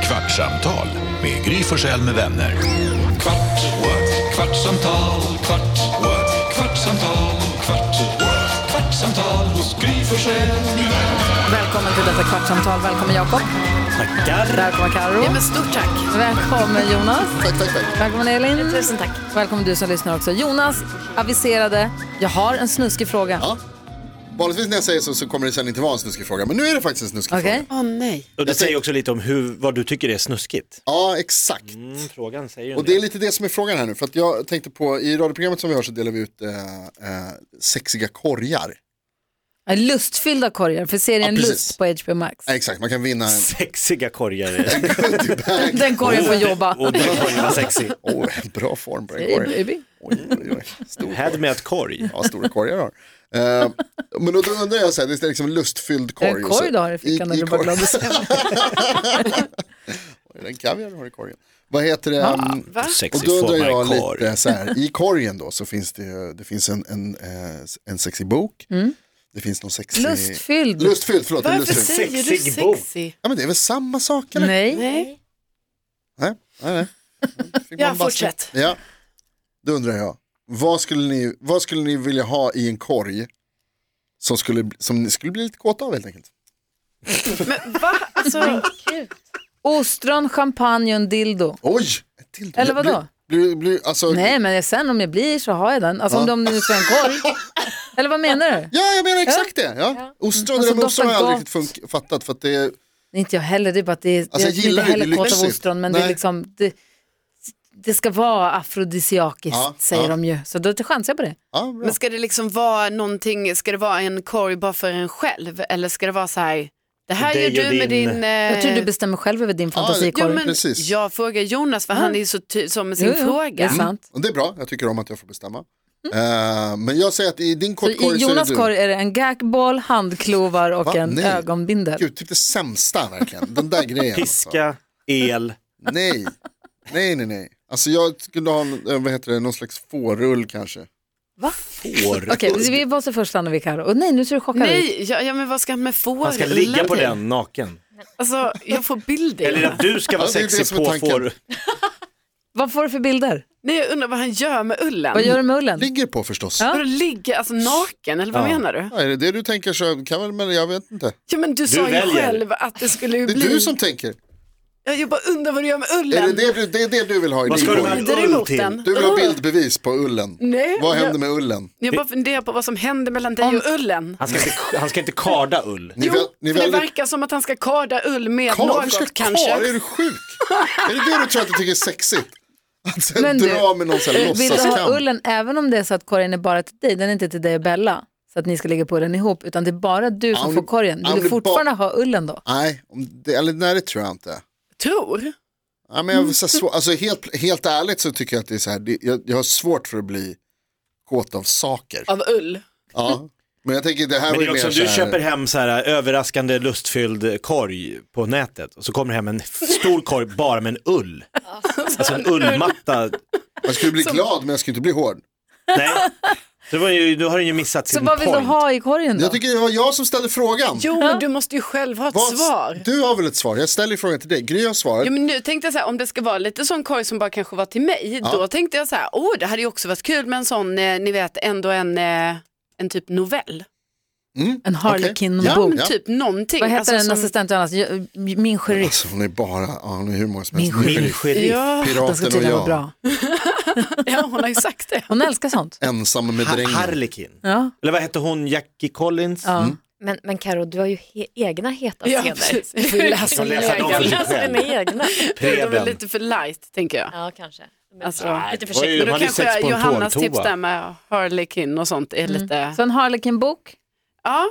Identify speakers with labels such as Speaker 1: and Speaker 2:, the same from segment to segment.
Speaker 1: Kvartsamtal med Gry Forssell med vänner. Kvart, what? kvartsamtal, kvart, what? kvartsamtal, kvart, what? kvartsamtal hos Gry Forssell med vänner.
Speaker 2: Välkommen till detta kvartsamtal. Välkommen Jakob.
Speaker 3: Tackar.
Speaker 2: Välkommen Karo.
Speaker 4: Ja, men stort tack.
Speaker 2: Välkommen Jonas.
Speaker 4: Tack, tack, tack.
Speaker 2: Välkommen Elin.
Speaker 4: Tusen tack.
Speaker 2: Välkommen du som lyssnar också. Jonas aviserade, jag har en snuskig fråga.
Speaker 5: Ja. Vanligtvis när jag säger så, så kommer det sen inte vara en snuskig fråga, men nu är det faktiskt en snuskig
Speaker 2: Okej?
Speaker 5: fråga.
Speaker 4: Åh nej.
Speaker 3: Och det säger också lite om hur, vad du tycker är snuskigt.
Speaker 5: Ja, exakt.
Speaker 3: Mm, frågan säger ju en
Speaker 5: Och det är
Speaker 3: del.
Speaker 5: lite det som är frågan här nu, för att jag tänkte på, i radioprogrammet som vi har så delar vi ut eh, eh, sexiga korgar.
Speaker 2: Ja, Lustfyllda korgar för serien
Speaker 5: Ja,
Speaker 2: Lust
Speaker 5: precis.
Speaker 2: på HBO Max.
Speaker 5: Eh, exakt, man kan vinna en
Speaker 3: Sexiga korgar. är det.
Speaker 5: goodiebag.
Speaker 2: Den korgen får jobba.
Speaker 3: Och den korgen var sexig.
Speaker 5: Åh, bra form på en
Speaker 2: Hej,
Speaker 5: korg.
Speaker 2: baby.
Speaker 5: Oj, oj, oj. Stor
Speaker 3: Head
Speaker 5: korg.
Speaker 3: med ett korg.
Speaker 5: Ja, stora korgar har. Eh, men då undrar jag, så här, det är liksom en lustfylld
Speaker 2: Det
Speaker 5: korg.
Speaker 2: är en
Speaker 5: och så-
Speaker 2: korg du har i fickan när du bara
Speaker 5: korg-
Speaker 2: glad och sämre.
Speaker 5: Är det en kaviar du har i korgen? Vad heter det? um,
Speaker 4: Va?
Speaker 5: Och
Speaker 3: Sexy
Speaker 5: då undrar
Speaker 3: formar
Speaker 5: jag
Speaker 3: en korg.
Speaker 5: lite så här, i korgen då så finns det, ju- det finns en, en, eh, en sexig bok, det finns någon sexig...
Speaker 2: Mm. Lustfylld.
Speaker 5: Lustfylld, förlåt.
Speaker 4: Varför
Speaker 5: lustfylld.
Speaker 4: säger du
Speaker 3: Sexig bok.
Speaker 4: sexy?
Speaker 5: Ja men det är väl samma sak eller?
Speaker 2: Nej.
Speaker 4: Nej.
Speaker 5: Nej, nej, nej. Fick
Speaker 4: Ja,
Speaker 5: man bara-
Speaker 4: fortsätt.
Speaker 5: Ja, då undrar jag, vad skulle, ni, vad skulle ni vilja ha i en korg som, skulle, som ni skulle bli lite kåta av helt enkelt?
Speaker 4: Men va? Alltså,
Speaker 2: Ostron, champagne och en dildo.
Speaker 5: Oj! Ett till.
Speaker 2: Eller vadå?
Speaker 5: Blir, blir, blir, alltså,
Speaker 2: Nej, men sen om jag blir så har jag den. Alltså om de nu ska ha en korg. Eller vad menar du?
Speaker 5: Ja, jag menar exakt det. Ja.
Speaker 2: Alltså,
Speaker 5: Ostron, det där med ostron har jag
Speaker 2: doftar
Speaker 5: aldrig riktigt funk- fattat. För att det är,
Speaker 2: Nej, Inte jag heller, det är bara att det är,
Speaker 5: jag
Speaker 2: jag är inte
Speaker 5: Alltså, gillar det, det är
Speaker 2: heller kåt av
Speaker 5: lyxigt.
Speaker 2: ostron men det är
Speaker 5: Nej.
Speaker 2: liksom, det, det ska vara afrodisiakiskt
Speaker 5: Ja,
Speaker 2: säger
Speaker 5: ja.
Speaker 2: de ju. Så då chansar jag på det.
Speaker 5: ja, bra.
Speaker 4: men ska det liksom vara någonting, ska det vara en korg bara för en själv? Eller ska det vara så här, det här
Speaker 3: Det
Speaker 4: gör
Speaker 3: är ju
Speaker 4: du med
Speaker 3: din-
Speaker 4: din... eh,
Speaker 2: Jag tror du bestämmer själv över din
Speaker 4: Jo,
Speaker 2: fantasikorg.
Speaker 4: men
Speaker 5: Precis.
Speaker 4: jag frågar Jonas för han är ju så ty- som med sin
Speaker 2: Jo, jo, Det
Speaker 4: fråga.
Speaker 2: är sant.
Speaker 5: Och det är bra, jag tycker om att jag får bestämma. Eh, men jag säger att i din
Speaker 2: Så
Speaker 5: kortkorg
Speaker 2: I
Speaker 5: så är det
Speaker 2: Jonas
Speaker 5: du.
Speaker 2: korg är det en gackboll, handklovar och
Speaker 5: Va?
Speaker 2: en
Speaker 5: Nej.
Speaker 2: ögonbindel.
Speaker 5: Gud, typ det sämsta verkligen. Den där grejen. alltså.
Speaker 3: Piska, el.
Speaker 5: Nej, nej, nej, nej. Alltså jag skulle ha en, eh, vad heter det, någon slags fårull kanske.
Speaker 2: Va?
Speaker 3: Hår.
Speaker 2: Okej, vi måste först stanna vid Karo. Och nej, nu ser du chockad ut.
Speaker 4: Nej, ja, ja men vad ska han med fårullar
Speaker 3: Han ska ligga på
Speaker 4: till?
Speaker 3: den naken.
Speaker 4: Alltså, jag får bilder.
Speaker 3: Eller att du ska vara
Speaker 5: Ja, det är det
Speaker 3: sexig
Speaker 5: som är
Speaker 3: på
Speaker 5: tanken.
Speaker 3: får.
Speaker 2: Vad får du för bilder?
Speaker 4: Nej, jag undrar vad han gör med ullen.
Speaker 2: Vad gör du med ullen?
Speaker 5: Ligger på förstås.
Speaker 2: Ja.
Speaker 5: Ja.
Speaker 4: Vadå ligga, alltså naken eller vad
Speaker 3: Ja.
Speaker 4: menar du?
Speaker 5: är det det du tänker så kan väl, men jag vet inte.
Speaker 4: Ja men du, sa ju
Speaker 3: väljer.
Speaker 4: själv att det skulle ju
Speaker 5: Det är
Speaker 4: bli...
Speaker 5: du som tänker.
Speaker 4: Ja, Jag bara undrar vad du gör med ullen.
Speaker 5: Är det, det, du- det är det du vill ha i
Speaker 3: Vad
Speaker 5: din
Speaker 3: ska du
Speaker 5: korg?
Speaker 3: med
Speaker 4: Vrider
Speaker 3: ull
Speaker 4: emot
Speaker 3: till?
Speaker 4: den.
Speaker 5: Du vill ha
Speaker 4: Ugh.
Speaker 5: bildbevis på ullen.
Speaker 4: Nej,
Speaker 5: Vad händer
Speaker 4: jag-
Speaker 5: med ullen?
Speaker 4: Jag bara funderar på vad som händer mellan dig och ullen.
Speaker 3: Han ska inte, han ska inte karda ull.
Speaker 5: Ni
Speaker 4: Jo,
Speaker 5: väl- ni
Speaker 4: för det
Speaker 5: väljer-
Speaker 4: verkar som att han ska karda ull med
Speaker 5: Karl, varför
Speaker 4: något
Speaker 5: ska
Speaker 4: kanske.
Speaker 5: Karl, är du sjuk? är det det du tror att du tycker är sexigt? Att sen
Speaker 2: Men du,
Speaker 5: dra med någon sån här
Speaker 2: Eh, Vill du ha
Speaker 5: låtsaskam?
Speaker 2: ullen även om det är så att korgen är bara till dig, den är inte till dig och Bella, så att ni ska ligga på ullen ihop, utan det är bara du som
Speaker 5: om-
Speaker 2: får korgen.
Speaker 5: om
Speaker 2: Vill du
Speaker 5: det
Speaker 2: fortfarande ha ullen då?
Speaker 5: Nej, om det, eller nej det tror jag inte.
Speaker 4: Tror?
Speaker 5: Ja, men jag, vill säga så, alltså, helt, helt ärligt så tycker jag att det är så här, det, jag, jag har svårt för att bli kåt av saker.
Speaker 4: Av ull.
Speaker 5: Ja. Men jag tänker det här
Speaker 3: Men
Speaker 5: var
Speaker 3: det
Speaker 5: ju
Speaker 3: är
Speaker 5: mer
Speaker 3: också, du
Speaker 5: så här,
Speaker 3: köper hem så här överraskande lustfylld korg på nätet och så kommer det hem en stor korg bara med en ull. Alltså en ullmatta.
Speaker 5: jag skulle bli glad men jag skulle inte bli hård.
Speaker 3: Nej, så det var ju, du har ju missat
Speaker 2: Så
Speaker 3: sin
Speaker 2: vad vill
Speaker 3: point.
Speaker 2: du ha i korgen då?
Speaker 5: Jag tycker det var jag som ställde frågan.
Speaker 4: Jo, men du måste ju själv ha ett
Speaker 5: Vad-
Speaker 4: svar.
Speaker 5: Du har väl ett svar? Jag ställer ju frågan till dig. Gry har svaret.
Speaker 4: Ja, men nu tänkte jag så här, om det ska vara lite sån korg som bara kanske var till mig, då tänkte jag så här, åh, det hade ju också varit kul med en sån, eh, ni vet, ändå en, eh, en typ novell.
Speaker 2: En
Speaker 5: Ja,
Speaker 2: Harlequin-bok.
Speaker 5: men-
Speaker 4: Typ någonting.
Speaker 2: Vad heter
Speaker 4: alltså,
Speaker 2: den,
Speaker 4: som-
Speaker 2: assistent Jonas? Ju- Min sheriff.
Speaker 5: Alltså, hon är bara, ja, hon är hur många som helst.
Speaker 2: Min
Speaker 3: Min
Speaker 5: Min
Speaker 3: sheriff.
Speaker 4: Ja,
Speaker 2: Den ska
Speaker 5: Piraten och
Speaker 2: tydligen vara
Speaker 5: jag,
Speaker 2: bra.
Speaker 4: ja, hon har ju sagt det.
Speaker 2: Hon älskar sånt.
Speaker 5: ensam med
Speaker 3: Ha-
Speaker 5: drängen.
Speaker 3: Harlekin.
Speaker 2: Ja.
Speaker 3: Eller vad hette hon, Jackie Collins?
Speaker 2: Ja.
Speaker 5: Mm.
Speaker 6: Men, men Karo, du har ju he- egna heta
Speaker 4: Ja,
Speaker 6: scener.
Speaker 4: precis. Vi får ju
Speaker 3: Du
Speaker 4: läsa
Speaker 3: får
Speaker 4: om
Speaker 3: läsa dem för dig
Speaker 6: Alltså
Speaker 3: själv.
Speaker 6: dina egna.
Speaker 4: De är
Speaker 3: Preben.
Speaker 4: lite för light, tänker jag.
Speaker 6: Ja, kanske. Men,
Speaker 4: Alltså,
Speaker 6: lite
Speaker 3: det var ju-
Speaker 4: Men
Speaker 6: försiktigt.
Speaker 4: då
Speaker 3: man hade sex
Speaker 4: kanske
Speaker 3: på en
Speaker 4: Johannas
Speaker 3: tårtoa.
Speaker 4: tips där med Harley Quinn och sånt är lite...
Speaker 2: Så en Harlequin-bok.
Speaker 4: Ja,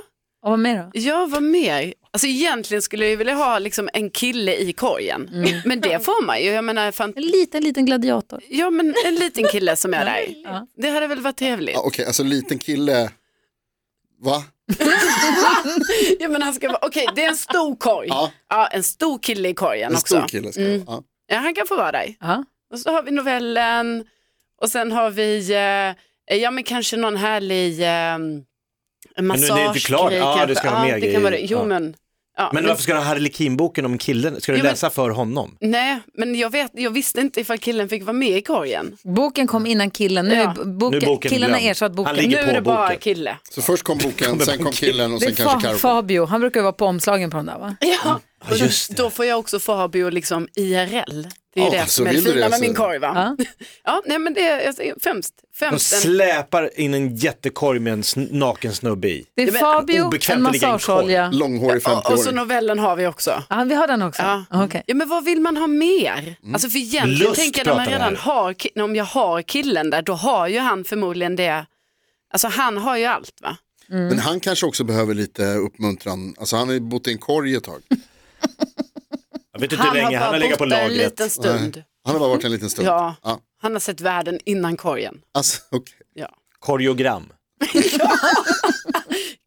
Speaker 2: Och vad mer då?
Speaker 4: ja, vad mer? Alltså egentligen skulle jag ju vilja ha liksom en kille i korgen. Men det får man ju. Jag menar, fan...
Speaker 2: En liten, liten gladiator.
Speaker 4: Ja, men en liten kille som är där. Det hade väl varit trevligt.
Speaker 5: Ja, Okej, alltså liten kille. Va?
Speaker 4: Ja, men han ska vara... Okej, det är en stor korg.
Speaker 5: Ja.
Speaker 4: Ja, en stor kille i korgen
Speaker 5: En
Speaker 4: också.
Speaker 5: stor kille ska
Speaker 4: Mm.
Speaker 5: jag ja.
Speaker 4: Ja, han kan få vara där.
Speaker 2: Ja.
Speaker 4: Och så har vi novellen och sen har vi, eh, ja men kanske någon härlig eh,
Speaker 3: nu är det inte klart.
Speaker 4: massagegrej.
Speaker 3: Ja,
Speaker 4: kanske.
Speaker 3: det ska vara mer
Speaker 4: det kan vara det.
Speaker 3: grejer.
Speaker 4: Jo
Speaker 3: Ja.
Speaker 4: men Ja,
Speaker 3: Men varför ska du ha Harlekinboken om killen? Ska du
Speaker 4: Jo, men-
Speaker 3: läsa för honom?
Speaker 4: Nej, men jag, vet, jag visste inte ifall killen fick vara med i korgen.
Speaker 2: Boken kom innan killen. Nu,
Speaker 4: Ja.
Speaker 2: är boken,
Speaker 3: Nu är boken
Speaker 2: killen har
Speaker 3: glömd.
Speaker 2: ersatt boken.
Speaker 3: Han ligger
Speaker 4: Nu
Speaker 3: på
Speaker 4: är det bara
Speaker 3: boken.
Speaker 4: kille.
Speaker 5: Så först kom boken, sen kom killen och
Speaker 2: det
Speaker 5: sen kanske
Speaker 2: är Fa-
Speaker 5: Carro.
Speaker 2: Fabio, han brukar ju vara på omslagen på de där va?
Speaker 4: Ja, och då,
Speaker 3: just det.
Speaker 4: då får jag också Fabio liksom IRL. Det är
Speaker 5: Ja,
Speaker 4: ju det
Speaker 5: så
Speaker 4: som är det
Speaker 5: vill du
Speaker 4: fina
Speaker 5: det,
Speaker 4: med min
Speaker 5: så-
Speaker 4: korg va? Ja,
Speaker 2: Ja.
Speaker 4: nej men det är jag säger, främst,
Speaker 3: De
Speaker 4: främst en,
Speaker 3: släpar in en jättekorg med en sn- naken snubbe i.
Speaker 2: Det är
Speaker 4: men-
Speaker 2: Fabio,
Speaker 3: Obekvämt
Speaker 2: en
Speaker 3: att ligga i en korg.
Speaker 2: massageolja.
Speaker 5: Långhårig
Speaker 4: och, och så
Speaker 5: 50-åring.
Speaker 4: novellen har vi också.
Speaker 2: Ja, vi har den också.
Speaker 4: Ja.
Speaker 2: Okej.
Speaker 4: Ja men vad vill man ha mer? Alltså för egentligen
Speaker 3: Mm. Lust
Speaker 4: tänker jag när man
Speaker 3: pratar vi
Speaker 4: redan
Speaker 3: här.
Speaker 4: har, ki- om jag har killen där, då har ju han förmodligen det, alltså han har ju allt va?
Speaker 5: Men han kanske också behöver lite uppmuntran. Alltså han har ju bott i en korg ett tag.
Speaker 3: Jag vet inte
Speaker 4: Han
Speaker 3: hur länge,
Speaker 4: har
Speaker 3: han har
Speaker 4: bara
Speaker 3: legat på
Speaker 4: bott där en
Speaker 3: lagret.
Speaker 4: liten stund.
Speaker 5: Han har bara varit en liten stund.
Speaker 4: Ja.
Speaker 5: ja.
Speaker 4: Han har sett världen innan korgen.
Speaker 5: Alltså, okej.
Speaker 4: Ja.
Speaker 3: Koreogram.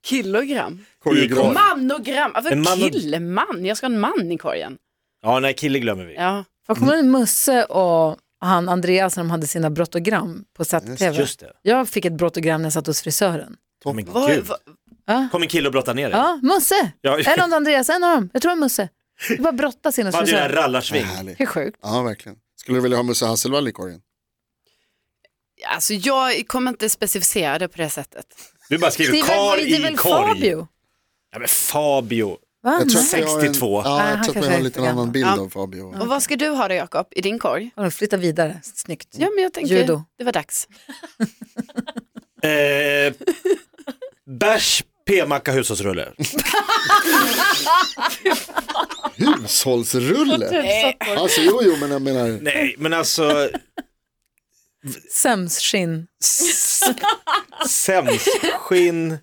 Speaker 4: Kilogram.
Speaker 5: Koreograf.
Speaker 3: Korg.
Speaker 4: Manogram. Varför
Speaker 3: En man och-
Speaker 4: kille, man? Jag ska ha en man i korgen.
Speaker 3: Ja, nej, kille glömmer vi.
Speaker 4: Ja.
Speaker 2: Var kommer mm. Musse och han Andreas när de hade sina brottogram på Satt-TV?
Speaker 3: Just det.
Speaker 2: Jag fick ett brottogram när jag satt hos frisören.
Speaker 3: Men
Speaker 4: Var,
Speaker 3: gud.
Speaker 4: var,
Speaker 3: Kom en kille och brottade ner dig.
Speaker 2: Ja, Musse!
Speaker 3: Ja.
Speaker 2: Eller om det var Andreas, en av dem. Jag tror det var Musse. Det bara brottas in hos
Speaker 3: Vad hade ju den här
Speaker 2: frisören.
Speaker 3: rallarsving.
Speaker 5: Härligt.
Speaker 2: Det är sjukt.
Speaker 5: Ja, verkligen. Skulle du vilja ha Musse Hasselvall i korgen?
Speaker 4: alltså jag kommer inte specificera det på det sättet.
Speaker 3: Du bara
Speaker 2: Det
Speaker 3: skriver
Speaker 2: är väl,
Speaker 3: kar
Speaker 2: det är väl
Speaker 3: i korg.
Speaker 2: Fabio?
Speaker 3: Ja, men Fabio.
Speaker 2: Va?
Speaker 5: Jag tror
Speaker 2: Nej.
Speaker 5: att jag har en,
Speaker 3: 62.
Speaker 5: ja,
Speaker 2: han
Speaker 5: jag tror att
Speaker 2: kanske
Speaker 5: jag har
Speaker 2: är
Speaker 5: en lite
Speaker 2: för
Speaker 5: annan
Speaker 2: gammal.
Speaker 5: bild
Speaker 4: Ja.
Speaker 5: av Fabio.
Speaker 4: Och vad ska du ha då Jakob, i din korg?
Speaker 2: Ja, Flytta vidare, snyggt.
Speaker 4: Ja men jag tänker,
Speaker 2: Judo.
Speaker 4: det var dags.
Speaker 3: Eh, bärs, p-macka, hushållsrulle.
Speaker 5: Hushållsrulle?
Speaker 6: Nej.
Speaker 5: Alltså jo, jo, men jag menar.
Speaker 3: Nej, men alltså
Speaker 2: Sömsskinn.
Speaker 3: sämsskinn.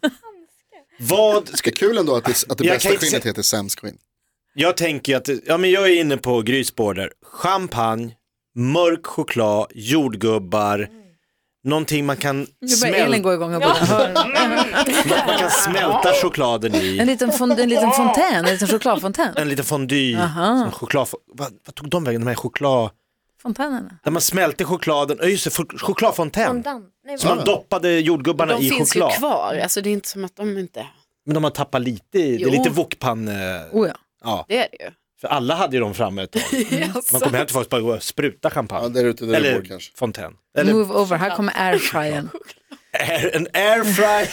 Speaker 3: Vad
Speaker 5: Det är kul ändå att det, att det
Speaker 3: Ah, Jag
Speaker 5: bästa
Speaker 3: kan inte
Speaker 5: skinnet
Speaker 3: se-
Speaker 5: heter sämskskinn.
Speaker 3: Jag tänker att, ja men jag är inne på Grysborg där. Champagne, mörk choklad, jordgubbar, någonting man kan,
Speaker 2: Nu börjar Elin
Speaker 3: smäl-
Speaker 2: gå igång och bara hör.
Speaker 3: något man kan smälta chokladen
Speaker 2: En
Speaker 3: i.
Speaker 2: liten, fond, en liten fontän, en liten chokladfontän.
Speaker 3: En liten fondue,
Speaker 2: Aha.
Speaker 3: som choklad, vad, vad tog de vägen, de här choklad,
Speaker 2: Fontänerna.
Speaker 3: där man smälte chokladen, ja just det, fo- chokladfontän.
Speaker 6: Fondant. Nej,
Speaker 3: Så man
Speaker 6: vad-
Speaker 3: doppade jordgubbarna
Speaker 4: De
Speaker 3: i
Speaker 4: finns
Speaker 3: choklad.
Speaker 4: ju kvar, alltså det är inte som att de inte,
Speaker 3: Men de har tappat lite, i- det är
Speaker 4: Jo.
Speaker 3: lite wokpan, eh,
Speaker 2: Oh, ja.
Speaker 3: ja.
Speaker 4: det är det ju.
Speaker 3: För alla hade ju dem framme ett tag. Man kom hem till folk och bara gå och spruta champagne.
Speaker 5: Ja, där ute där du bor
Speaker 3: Ah. Eller
Speaker 5: kanske.
Speaker 3: fontän. Eller
Speaker 2: Move over, här kommer airfryern.
Speaker 3: Air, en airfryer.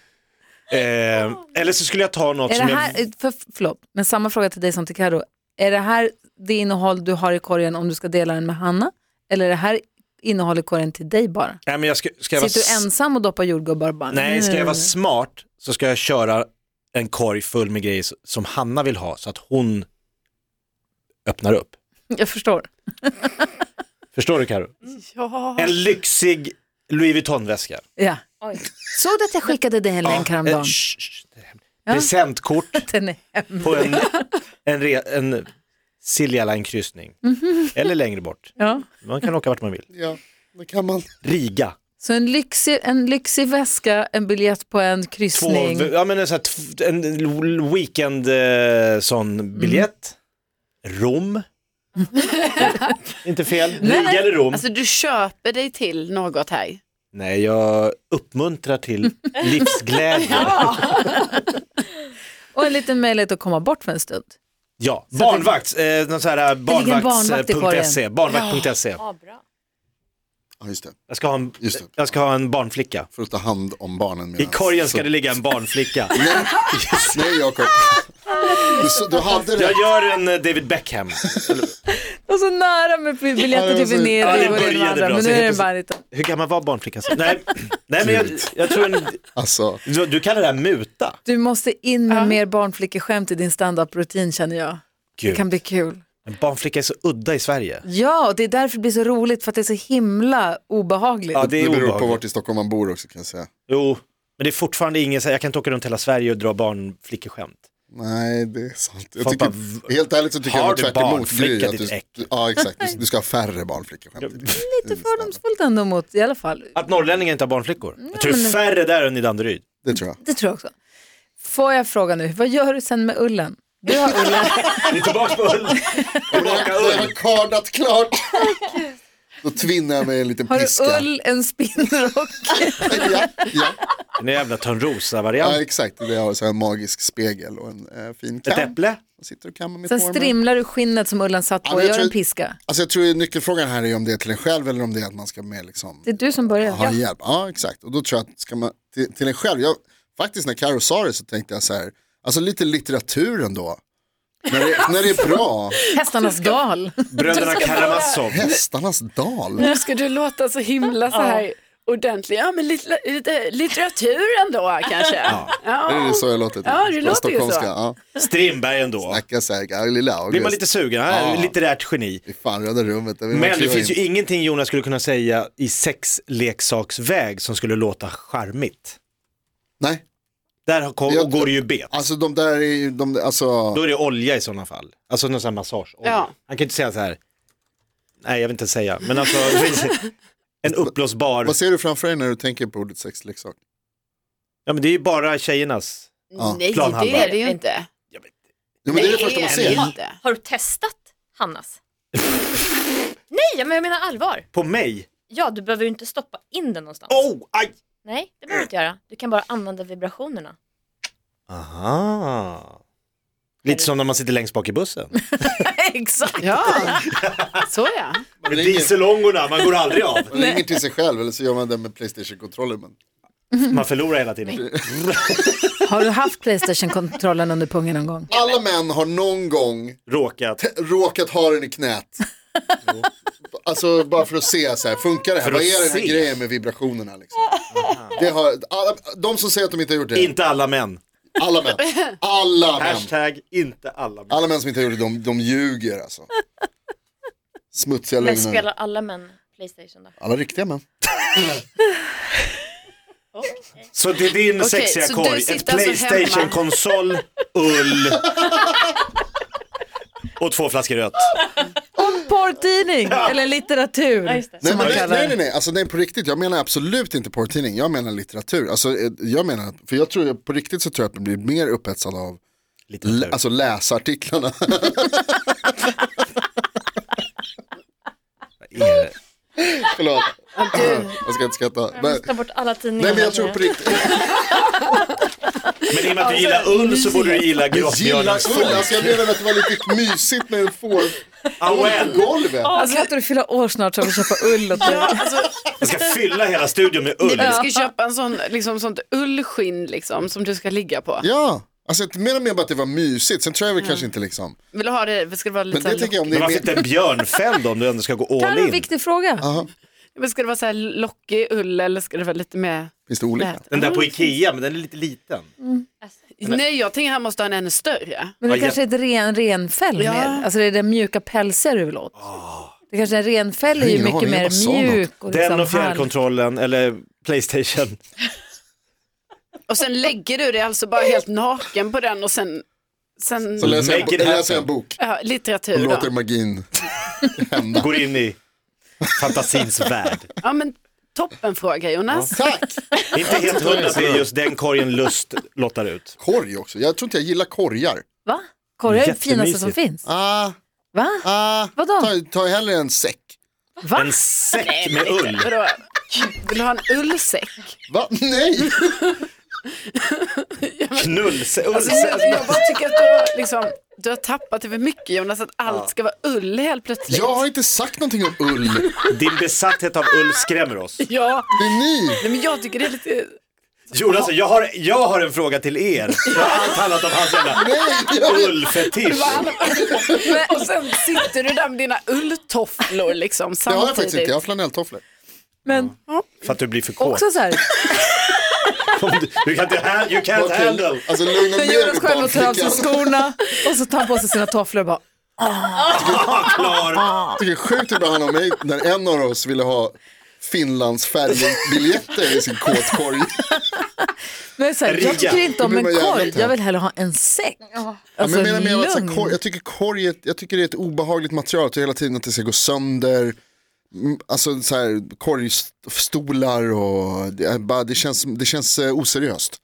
Speaker 3: eh, eller så skulle jag ta något
Speaker 2: Är det
Speaker 3: som
Speaker 2: här, för, förlåt, men samma fråga till dig som till Karo. Är det här det innehåll du har i korgen om du ska dela den med Hanna? Eller är det här innehåll i korgen till dig bara?
Speaker 3: jag... Nej, men jag ska, ska jag vara...
Speaker 2: Sitter
Speaker 3: s-
Speaker 2: du ensam och doppar jordgubbar och bara? "Mm."
Speaker 3: Nej, ska jag vara smart så ska jag köra en korg full med grejer s- som Hanna vill ha så att hon öppnar upp.
Speaker 2: Jag förstår.
Speaker 3: Förstår du Karo?
Speaker 4: Ja.
Speaker 3: En lyxig Louis Vuitton-väska.
Speaker 2: Ja.
Speaker 6: Oj.
Speaker 2: Såg du att jag skickade dig en länk
Speaker 3: Eh,
Speaker 2: häromdagen?
Speaker 3: shh, shh, det är hemligt. Presentkort
Speaker 2: Den är hemlig.
Speaker 3: på en, en, re, en Silja Line-kryssning. Eller längre bort.
Speaker 2: Ja.
Speaker 3: Man kan åka vart man vill.
Speaker 5: Ja, det kan man.
Speaker 3: Riga.
Speaker 2: Så en lyxig, en lyxig väska, en biljett på en
Speaker 3: två,
Speaker 2: kryssning.
Speaker 3: ja men en, sån här, tv- en l- weekend eh,
Speaker 2: Mm.
Speaker 3: sån biljett. Rom. Inte fel. Riga eller Rom.
Speaker 4: Alltså du köper dig till något här.
Speaker 3: Nej, jag uppmuntrar till livsglädje.
Speaker 2: Och en liten möjlighet att komma bort för en stund.
Speaker 3: Ja, barnvakt. Eh, någon sån här
Speaker 2: ligger en barnvakt i
Speaker 3: barnvakts.se. Barnvakt.se.
Speaker 6: Ja, bra.
Speaker 3: Ah,
Speaker 5: Ja, just det.
Speaker 3: E. Jag ska ha en,
Speaker 5: Just det.
Speaker 3: jag ska ha en barnflicka.
Speaker 5: För att ta hand om barnen.
Speaker 3: I
Speaker 5: medan-
Speaker 3: korgen
Speaker 5: Så-
Speaker 3: ska det ligga en barnflicka.
Speaker 5: Nej, nej Jakob. Du, så- du hade
Speaker 3: Jag
Speaker 5: det.
Speaker 3: gör en eh, David Beckham.
Speaker 2: Och så nära med
Speaker 5: Ja,
Speaker 2: biljetter
Speaker 5: det
Speaker 2: till
Speaker 5: var så-
Speaker 2: Venedig
Speaker 3: Ja, det
Speaker 2: och det ena och det
Speaker 3: började
Speaker 2: andra,
Speaker 3: bra,
Speaker 2: men
Speaker 3: så
Speaker 2: nu är
Speaker 3: helt
Speaker 2: det bara lite.
Speaker 3: Hur gammal var barnflickan? Nej, nej men jag, jag tror en,
Speaker 5: Alltså,
Speaker 3: du, du kallar det här muta.
Speaker 2: Du måste in med mer barnflickeskämt i din standup-rutin känner jag. Det
Speaker 3: Gud.
Speaker 2: kan bli kul.
Speaker 3: En barnflicka är så udda i Sverige.
Speaker 2: Ja, och det är därför det blir så roligt, för att det är så himla obehagligt.
Speaker 3: Ja, det är
Speaker 5: det beror på
Speaker 3: obehagligt.
Speaker 5: vart i Stockholm man bor också kan jag säga.
Speaker 3: Jo, men det är fortfarande ingen, så här, jag kan inte åka runt hela Sverige och dra barnflickeskämt.
Speaker 5: Nej, det är sant. Jag
Speaker 3: Folk
Speaker 5: tycker,
Speaker 3: bara,
Speaker 5: helt ärligt så tycker
Speaker 3: har
Speaker 5: jag
Speaker 3: du
Speaker 5: nog tvärtemot
Speaker 3: barnflicka,
Speaker 5: Gry. Att
Speaker 3: ditt
Speaker 5: du,
Speaker 3: äck?
Speaker 5: ja, exakt. Du, du ska ha färre barnflickeskämt.
Speaker 2: Lite fördomsfullt ändå mot, i alla fall.
Speaker 3: Att norrlänningar inte har barnflickor. jag tror det är färre där än i Danderyd.
Speaker 5: Det tror jag.
Speaker 2: Det tror jag också. Får jag fråga nu, vad gör du sen med ullen? Du har ullen.
Speaker 3: Vi är tillbaka på ull.
Speaker 5: Jag har kardat klart. Då tvinnar jag mig en liten
Speaker 2: Har
Speaker 5: piska.
Speaker 2: du ull, en spinnrock?
Speaker 5: Ja, ja.
Speaker 3: Den där jävla
Speaker 5: ja
Speaker 3: Törnrosa-varianten.
Speaker 5: exakt. Det har så här en magisk spegel och en eh, fin
Speaker 3: Ett
Speaker 5: kam.
Speaker 3: äpple?
Speaker 5: Jag sitter och kammar mitt
Speaker 2: Sen
Speaker 5: hår med.
Speaker 2: strimlar du skinnet som ullen satt
Speaker 5: Ja,
Speaker 2: på
Speaker 5: men
Speaker 2: och
Speaker 5: jag
Speaker 2: gör en
Speaker 5: tror-
Speaker 2: piska.
Speaker 5: Alltså jag tror nyckelfrågan här är om det är till en själv eller om det är att man ska med liksom
Speaker 2: Det är du som börjar.
Speaker 5: ha hjälp. Ja exakt, och då tror jag att ska man, till, till en själv, jag, faktiskt när Karo sa det så tänkte jag så här, alltså lite litteratur ändå. När det, när det är bra,
Speaker 2: Hästarnas dal.
Speaker 3: Bröderna Karamazov.
Speaker 5: hästarnas dal.
Speaker 4: Nu ska du låta så himla så här ordentlig. Ja, men lite, lite litteratur ändå kanske. Ja,
Speaker 5: Är det så jag låter?
Speaker 4: Ja, det
Speaker 5: På
Speaker 4: låter ju så.
Speaker 5: stockholmska, Ja.
Speaker 3: Strindberg ändå.
Speaker 5: Snacka så här, Galileo,
Speaker 3: Blir
Speaker 5: August.
Speaker 3: man lite sugen? Han är
Speaker 5: Ja.
Speaker 3: ett litterärt geni.
Speaker 5: I fan röda rummet. där vill man
Speaker 3: Men det
Speaker 5: kliva
Speaker 3: finns ju
Speaker 5: in.
Speaker 3: ingenting Jonas skulle kunna säga i sexleksaksväg som skulle låta charmigt.
Speaker 5: Nej,
Speaker 3: Där har kom,
Speaker 5: Jag-
Speaker 3: och går det ju bet.
Speaker 5: alltså de där är ju, de, där- alltså,
Speaker 3: Då är det olja i sådana fall. Alltså någon sån här massageolja.
Speaker 4: Ja.
Speaker 3: Han kan ju inte säga så här. Nej, jag vill inte säga. Men alltså, en uppblåsbar.
Speaker 5: vad ser du framför dig när du tänker på ordet sexleksak?
Speaker 3: Ja, men det är ju bara tjejernas.
Speaker 5: Ja.
Speaker 4: Nej,
Speaker 3: Planhalva.
Speaker 4: det är det ju inte.
Speaker 5: Jo, men det är det
Speaker 4: Nej,
Speaker 5: första man
Speaker 4: det är
Speaker 5: ser.
Speaker 4: det inte.
Speaker 6: Har du testat Hannas? Nej, men jag menar allvar.
Speaker 3: På mig?
Speaker 6: Ja, du behöver ju inte stoppa in den någonstans.
Speaker 3: Oh, aj!
Speaker 6: Nej, det behöver du inte göra. Du kan bara använda vibrationerna.
Speaker 3: Aha. Lite som när man sitter längst bak i bussen.
Speaker 2: Exakt.
Speaker 4: Ja, så ja.
Speaker 5: Man ringer,
Speaker 3: Dieselångorna, man går aldrig av.
Speaker 5: man ringer till sig själv eller så gör man det med Playstation-kontrollen. Men...
Speaker 3: Man förlorar hela tiden.
Speaker 2: Har du haft Playstation-kontrollen under pungen någon gång?
Speaker 5: Alla män har någon gång
Speaker 3: Råkat.
Speaker 5: råkat ha den i knät. alltså bara för att se så här, funkar det här?
Speaker 3: För
Speaker 5: Vad
Speaker 3: att
Speaker 5: är den här
Speaker 3: se.
Speaker 5: grejen med vibrationerna liksom? Det har, alla, de som säger att de inte har gjort det,
Speaker 3: Inte alla män.
Speaker 5: alla män. Alla män.
Speaker 3: Hashtag inte alla män.
Speaker 5: Alla män som inte har gjort det, de, de ljuger alltså. Smutsiga
Speaker 6: Men
Speaker 5: lögner.
Speaker 6: spelar alla män Playstation då?
Speaker 5: Alla riktiga män.
Speaker 3: Så det är din
Speaker 4: Okej,
Speaker 3: sexiga
Speaker 4: så du
Speaker 3: korg. Ett
Speaker 4: sitter alltså hemma-
Speaker 3: Playstation-konsol, ull och två flaskor rött.
Speaker 2: Porrtidning eller litteratur.
Speaker 5: Nej,
Speaker 2: Som man
Speaker 5: men nej,
Speaker 2: kallar det.
Speaker 5: nej, nej, nej. Alltså, nej, på riktigt. Jag menar absolut inte porrtidning. Jag menar litteratur. Alltså, eh, jag menar, för jag tror, på riktigt så tror jag att jag blir mer upphetsad av
Speaker 3: Lite
Speaker 5: l-
Speaker 3: tur.
Speaker 5: alltså, läsartiklarna.
Speaker 3: Vad är det?
Speaker 5: Förlåt. jag ska inte skratta. Men,
Speaker 6: Ta bort alla tidningar.
Speaker 5: nej, men jag tror på riktigt.
Speaker 3: Men i och med
Speaker 4: Alltså,
Speaker 3: att du gillar ull så borde du gilla
Speaker 5: Jag gillar
Speaker 3: gråtbjörnens
Speaker 5: ull.
Speaker 3: folk.
Speaker 5: Alltså, jag menar att det var lite mysigt med en får
Speaker 3: Ah,
Speaker 5: på
Speaker 3: well.
Speaker 5: golvet.
Speaker 2: Alltså låter du fylla år snart så jag vill köpa ull åt dig.
Speaker 3: Jag ska fylla hela studion med ull.
Speaker 4: Du ska ju köpa en sån, liksom, sånt ullskinn liksom, som du ska ligga på.
Speaker 5: Ja, alltså, jag menar mer bara att det var mysigt. Sen tror jag väl kanske inte liksom.
Speaker 4: Vill du ha det, ska det vara
Speaker 5: Men
Speaker 4: lite
Speaker 5: det
Speaker 4: så här,
Speaker 5: tänker jag om det
Speaker 3: Men
Speaker 5: är
Speaker 3: varför
Speaker 5: mer...
Speaker 3: inte en björnfälld om du ändå ska gå all
Speaker 2: Karo,
Speaker 3: in?
Speaker 2: viktig fråga.
Speaker 5: Aha,
Speaker 4: men ska det vara så här lockig ull eller ska det vara lite mer
Speaker 5: finns det olika?
Speaker 4: nät?
Speaker 3: Den där på Ikea, men den är lite liten.
Speaker 4: Nej, jag tänker han måste ha en ännu större.
Speaker 2: Men det
Speaker 3: Ja,
Speaker 2: kanske är ett ren, renfäll
Speaker 4: Ja.
Speaker 2: mer. Alltså det är den mjuka pälsiga du vill åt. Det kanske är en renfäll är ju
Speaker 5: Ah. Ingen aning,
Speaker 2: mycket
Speaker 5: jag
Speaker 2: mer
Speaker 5: bara sa något.
Speaker 2: mjuk. Och liksom
Speaker 3: Den och
Speaker 2: härlig.
Speaker 3: fjärrkontrollen, eller Playstation.
Speaker 4: Och sen lägger du dig alltså bara helt naken på den och sen, sen
Speaker 5: Så läser jag,
Speaker 3: Make it
Speaker 5: eller läser jag en
Speaker 3: happen.
Speaker 5: bok
Speaker 4: ja,
Speaker 5: och
Speaker 4: litteratur.
Speaker 5: låter
Speaker 4: Då.
Speaker 5: magin hända.
Speaker 3: Går in i fantasins värld.
Speaker 4: Ja, men toppenfråga Jonas.
Speaker 5: Tack!
Speaker 3: Inte helt hundra att det är just den korgen Lust lottar ut.
Speaker 5: Korg också. Jag tror inte jag gillar korgar.
Speaker 2: Va? Korgar är det finaste som
Speaker 3: Jättemysigt.
Speaker 2: finns.
Speaker 5: Ah,
Speaker 2: Va?
Speaker 5: ah,
Speaker 2: Vadå?
Speaker 5: Ta, ta hellre en säck.
Speaker 2: Va?
Speaker 3: En säck med ull.
Speaker 4: Vadå? Vill du ha en ullsäck?
Speaker 5: Va? Nej!
Speaker 3: Knullsäck.
Speaker 4: Alltså, jag, jag bara tycker att du, har liksom, du har tappat det för mycket Jonas, att allt ska vara ull helt plötsligt.
Speaker 5: Jag har inte sagt någonting om ull.
Speaker 3: Din besatthet av ull skrämmer oss.
Speaker 4: Ja,
Speaker 5: Det är ni.
Speaker 4: nej, men jag tycker det är lite...
Speaker 3: Jonas, alltså, jag har, jag har en fråga till er. Jag har allt handlat om hans jävla ullfetisch.
Speaker 4: Och sen sitter du där med dina ulltofflor
Speaker 5: Det
Speaker 4: liksom
Speaker 5: har
Speaker 4: samtidigt.
Speaker 5: jag faktiskt inte. Jag har flanelltofflor.
Speaker 2: Men
Speaker 3: För att du blir för kåt.
Speaker 2: också så här,
Speaker 3: Du kan inte ha- you can't
Speaker 5: Okej,
Speaker 3: handle.
Speaker 5: Alltså lugna
Speaker 2: när
Speaker 5: ner
Speaker 2: Jonas
Speaker 5: dig
Speaker 2: själv tar av sig
Speaker 5: barnflickan.
Speaker 2: skorna och så tar han på sig sina tofflor och bara
Speaker 4: Ah.
Speaker 3: Klar.
Speaker 5: Jag tycker det är sjukt hur det handlar om mig när en av oss ville ha Finlandsfärjebiljetter i sin kåtkorg.
Speaker 2: Men så här,
Speaker 3: Riga.
Speaker 2: jag tycker inte om
Speaker 5: Då
Speaker 2: en
Speaker 5: blir man jävla
Speaker 2: korg,
Speaker 5: tänd.
Speaker 2: jag vill hellre ha en säck.
Speaker 5: Ja, men
Speaker 2: Alltså
Speaker 5: jag, menar mer att så här,
Speaker 2: lugn.
Speaker 5: korg, jag tycker korg är ett, jag tycker det är ett obehagligt material. Jag tror hela tiden att det ska gå sönder. Mm, Alltså så här, korgstolar och det, är bara, det, känns, det känns eh, oseriöst.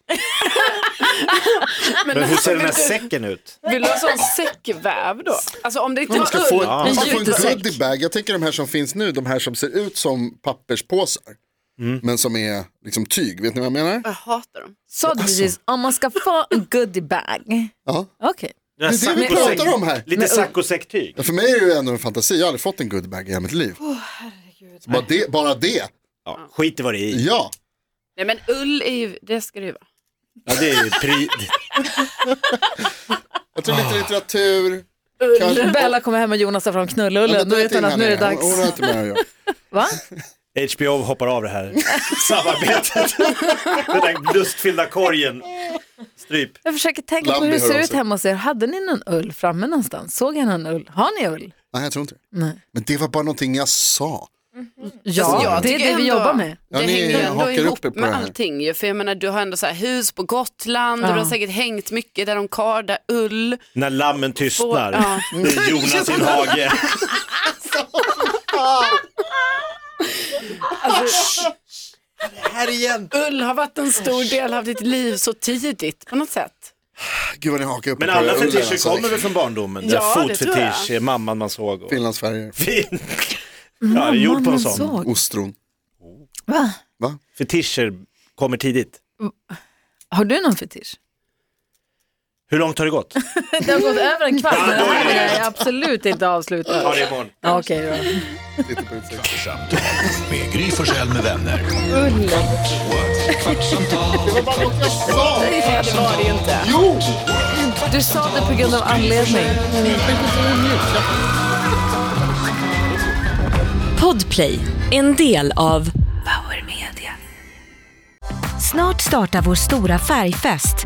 Speaker 3: Men hur ser den här säcken ut?
Speaker 4: Vill du ha sån säckväv då? Alltså om det inte
Speaker 5: Man ska
Speaker 4: var
Speaker 5: få,
Speaker 4: ull.
Speaker 3: Ja.
Speaker 5: man ska få en
Speaker 2: Jutesäck.
Speaker 5: goodiebag. Jag tänker de här som finns nu, de här som ser ut som papperspåsar. Men som är liksom tyg, vet ni vad jag menar?
Speaker 4: Jag hatar dem.
Speaker 2: Sa
Speaker 5: Alltså.
Speaker 2: du precis om man ska få en goodiebag?
Speaker 5: Ja.
Speaker 2: Okej.
Speaker 3: Den här
Speaker 5: Det är det vi
Speaker 3: saccosäck-
Speaker 5: pratar om här.
Speaker 3: Lite saccosäcktyg.
Speaker 5: Ja, För mig är det ju ändå en fantasi, jag har aldrig fått en goodiebag i hela mitt liv. Så bara, det, bara det,
Speaker 3: Ja, skit i vad det är i.
Speaker 5: ja.
Speaker 4: Nej men ull är ju, det ska det ju vara.
Speaker 3: Ja, det är ju pri...
Speaker 5: Jag tror lite litteratur. Kanske,
Speaker 2: Bella kommer hem och Jonas tar fram
Speaker 5: Alltså, Ja,
Speaker 2: knullullen.
Speaker 5: men
Speaker 2: Då
Speaker 5: är
Speaker 2: vet han att nu är det
Speaker 5: henne. Hon- Hon har
Speaker 2: dags.
Speaker 5: inte med att göra.
Speaker 2: Va?
Speaker 3: HBO hoppar av det här samarbetet. Den där lustfyllda korgen. Stryp.
Speaker 2: Jag försöker tänka på hur
Speaker 5: Lambi
Speaker 2: det
Speaker 5: hör
Speaker 2: ser
Speaker 5: av
Speaker 2: ut
Speaker 5: sig.
Speaker 2: hemma hos er. Hade ni någon ull framme någonstans? Såg jag någon ull? Har ni ull?
Speaker 5: Nej, jag tror inte det.
Speaker 2: Nej.
Speaker 5: Men det var bara någonting jag sa.
Speaker 2: Ja,
Speaker 4: jag
Speaker 2: det är
Speaker 4: tycker
Speaker 2: det vi
Speaker 4: ändå-
Speaker 2: jobbar med.
Speaker 5: Ja,
Speaker 4: det
Speaker 5: ni
Speaker 4: hänger ju ändå
Speaker 5: hakar
Speaker 4: ihop
Speaker 5: upp er på det
Speaker 4: med
Speaker 5: här.
Speaker 4: allting ju. För jag menar du har ändå så här hus på Gotland och
Speaker 2: Ja.
Speaker 4: du har säkert hängt mycket där de kardar ull.
Speaker 3: När lammen tystnar.
Speaker 4: Får- ja.
Speaker 3: Det är Jonas sin hage. Det här igen.
Speaker 4: Ull har varit en stor del av ditt liv så tidigt på något sätt.
Speaker 5: Gud vad ni hakar upp
Speaker 3: Men
Speaker 5: er på
Speaker 3: alla
Speaker 5: det. Ulla,
Speaker 3: fetischer
Speaker 5: alltså,
Speaker 3: kommer väl från barndomen?
Speaker 4: Ja,
Speaker 3: Där
Speaker 4: det tror jag.
Speaker 3: Fotfetisch är eh, mamman man såg. Och...
Speaker 5: Finlandsfärger,
Speaker 3: Fin. Ja, gjord på en
Speaker 2: Mannen
Speaker 3: sån.
Speaker 2: såg.
Speaker 5: ostron.
Speaker 2: Va?
Speaker 5: Va?
Speaker 3: Fetischer kommer tidigt.
Speaker 2: Har du någon fetisch?
Speaker 3: Hur långt har det gått?
Speaker 2: Det har gått över en kvart, men
Speaker 3: då
Speaker 2: det
Speaker 3: är det
Speaker 2: här är absolut inte avslutat.
Speaker 3: Ja, det är imorgon.
Speaker 2: Ja, Okej då.
Speaker 5: Titta på utsidan.
Speaker 1: Kvartsamtal med Gry Forssell med vänner. Kvart, kvartsamtal,
Speaker 4: Det var det ju inte.
Speaker 5: Jo!
Speaker 2: Du sa det på grund av anledning.
Speaker 7: Podplay, en del av Power Media. Snart startar vår stora färgfest